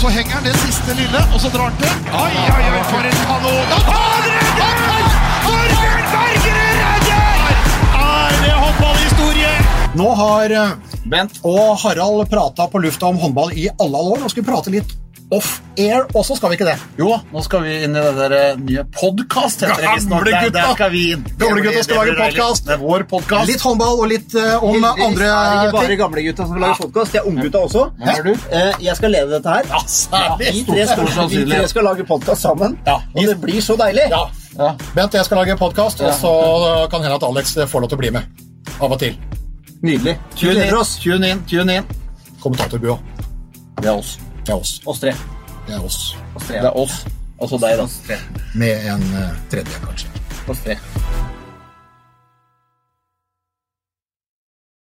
så henger han det siste lille, og så drar han til. Oi, oi, oi, for en kanon! Da tar han redder! Torbjørn Bergerud redder! Er det håndballhistorie? Nå har eh, Bent og Harald prata på lufta om håndball i alle alle år. Nå skal vi prate litt off-air også, skal vi ikke det? Jo da, nå skal vi inn i det der eh, nye podkast, heter det visstnok. Gamle Der, gutta! der skal vi inn. Det Gamle blir- gutta skal det lage blir deilig. podcast. Det er vår podkast. Litt håndball og litt eh, om andre er det ikke bare ting. gamlegutta som lager podkast, det er unggutta også. Hva er du? Eh, Jeg skal lede dette her. særlig. Vi tre Stor skal, vi sannsynlighet. tre skal lage podkast sammen, Ja. og det blir så deilig. Ja. Ja. Bent, jeg skal lage podkast, og så eh, kan hende at Alex eh, får lov til å bli med. Av og til. Nydelig. Vi Tune gleder in, oss. tune in, tune in. Kommentatorbua. Det er oss. Det er oss. Oss tre. Det er oss. Det Oss tre. er oss. Altså deg, da. Oss tre. Med en eh, tredje, kanskje. Oss tre.